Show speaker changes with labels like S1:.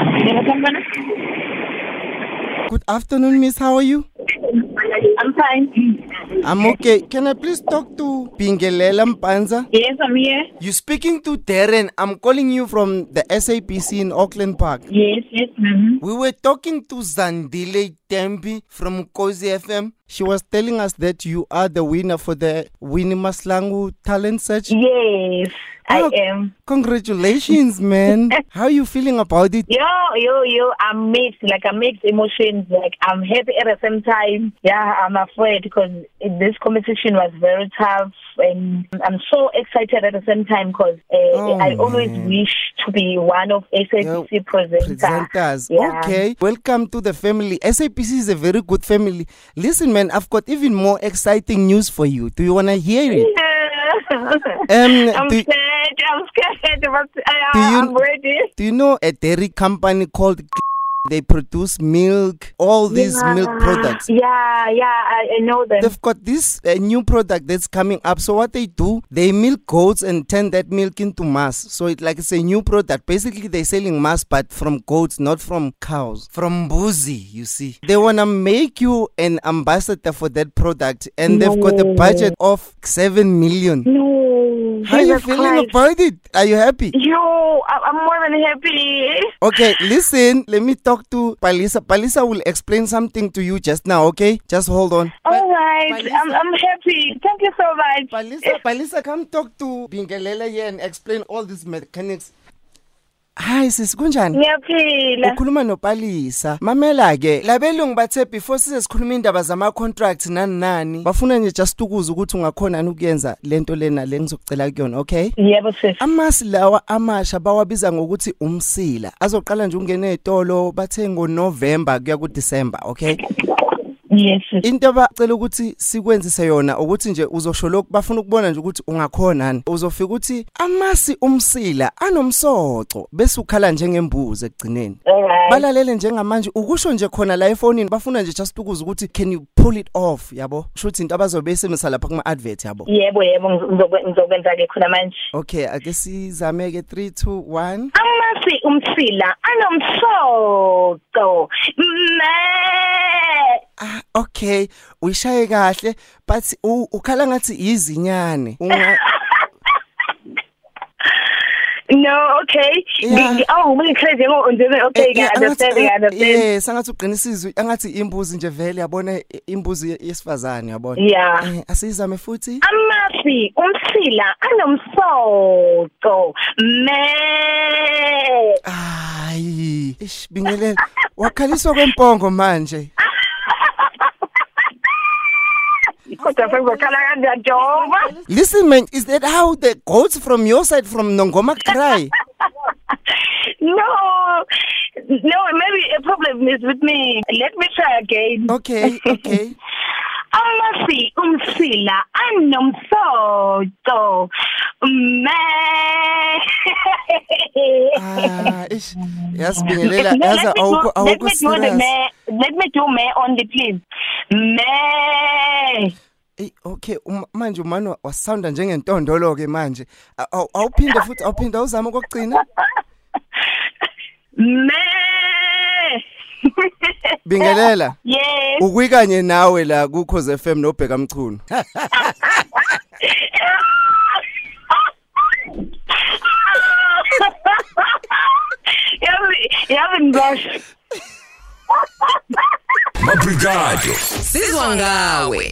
S1: Kumana.
S2: Good afternoon, miss. How are you?
S1: I'm fine.
S2: I'm okay. Can I please talk to Pingelela Mpanza?
S1: Yes, I'm here.
S2: You speaking to Darren. I'm calling you from the SAPC in Auckland Park.
S1: Yes, yes, ma'am.
S2: We were talking to Zandile Tembi from Cozy FM. She was telling us that you are the winner for the Winnie Maslangu talent search.
S1: Mm. Yes, I
S2: Oh,
S1: am.
S2: Congratulations, man. How are you feeling about it?
S1: Yo, yo, yo, I'm mixed, like I mixed emotions. Like I'm happy at the same time. Yeah, I'm afraid because this competition was very tough. And I'm so excited at the same time because uh,
S2: Oh,
S1: I always
S2: man.
S1: wish to be one of SAPC
S2: Yeah,
S1: presenters.
S2: presenters. Okay. Welcome to the family. SAPC is a very good family. Listen, man, I've got even more exciting news for you. Do you want to hear it?
S1: I'm
S2: do-
S1: scared. I'm scared, but uh,
S2: Do you-
S1: I'm ready.
S2: Do you know a dairy company called they produce milk, all these milk products?
S1: Yeah, yeah, I, I know them.
S2: They've got this uh, new product that's coming up. So what they do, they milk goats and turn that milk into mass. So it like it's a new product. Basically, they're selling mass, but from goats, not from cows, from boozy. You see, they wanna make you an ambassador for that product, and they've got a budget of seven million.
S1: no.
S2: How are you
S1: Jesus
S2: feeling
S1: Christ.
S2: about it? Are you happy?
S1: Yo, I- I'm more than happy.
S2: Okay, listen, let me talk to Palisa. Palisa will explain something to you just now, okay? Just hold on.
S1: All right,
S2: Palisa.
S1: I'm, I'm happy. Thank you so much.
S2: Palisa, Palisa, come talk to Bingelela here and explain all these mechanics. Hi sis
S1: Eh,
S2: kunjani?
S1: Ngiyaphila.
S2: Ukhuluma noPalisa. Mamela ke, labelungu bathe before size sikhuluma indaba zama contracts nani nani. Bafuna nje just ukuza ukuthi ungakhona ni ukuyenza lento lena lengizokucela kuyona, okay?
S1: Yebo sis.
S2: amasi lawa amasha bawabiza ngokuthi umsila azoqala nje ungene etolo bathe ngoNovember kuya kuDisember okay
S1: Yes sis.
S2: into abacela ukuthi sikwenzise yona ukuthi nje uzosholoku bafuna ukubona nje ukuthi ungakhonani uzofika uthi amasi umsila anomsoco bese ukhala njengembuzi ekugcineni
S1: All right.
S2: balalele njengamanje ukusho nje khona la efonini bafuna nje just ukuza ukuthi can you pull it off yabo shuthi into abazobeyisebenzisa lapha kuma advert yabo
S1: Yebo, yebo, ngizokwe- ngizokwenza ke khona manje.
S2: okay ake sizame ke 3 2 1
S1: Amasi umsila anomsoco. Me.
S2: ah okay uyishaye kahle but u- ukhala ngathi izinyane Unga-
S1: No, okay.
S2: Yeah.
S1: Ngi- Oh, we crazy. ngo- ndizwe- Okay,
S2: Eh,
S1: I
S2: eh,
S1: understand. I
S2: angathi-
S1: understand.
S2: eh sangathi uqinisizwe angathi imbuzi nje vele yabona i- imbuzi yesifazane yabona
S1: Yeah.
S2: Eh, asizame futhi
S1: Amasi umsila anomsoco. Me.
S2: hayi ish bingelela wakhaliswa kwempongo manje
S1: Kodwa sengizokhala kanjani Jehova?
S2: listen man is that how the goats from your side from Nongoma cry
S1: No. No, maybe a problem is with me. Let me try again.
S2: okay okay
S1: Amasi umsila anomsoco. Me.
S2: ah ish yasibingelela yaza
S1: let, me
S2: awukho
S1: do, let
S2: awukho
S1: me do the
S2: serious
S1: meh. Let me do meh only, please. Meh.
S2: Ey okay uma- manje umano wasounda njengentontolo ke manje Aw- aw- awuphinde futhi awuphinde uzame ukugcina
S1: Meh.
S2: bingelela
S1: yes.
S2: Oh. ukwikanye nawe la ku Khoze FM nobheka mchunu
S1: Yazi- yazi ngibasho.
S3: Obrigado.
S4: sizwa ngawe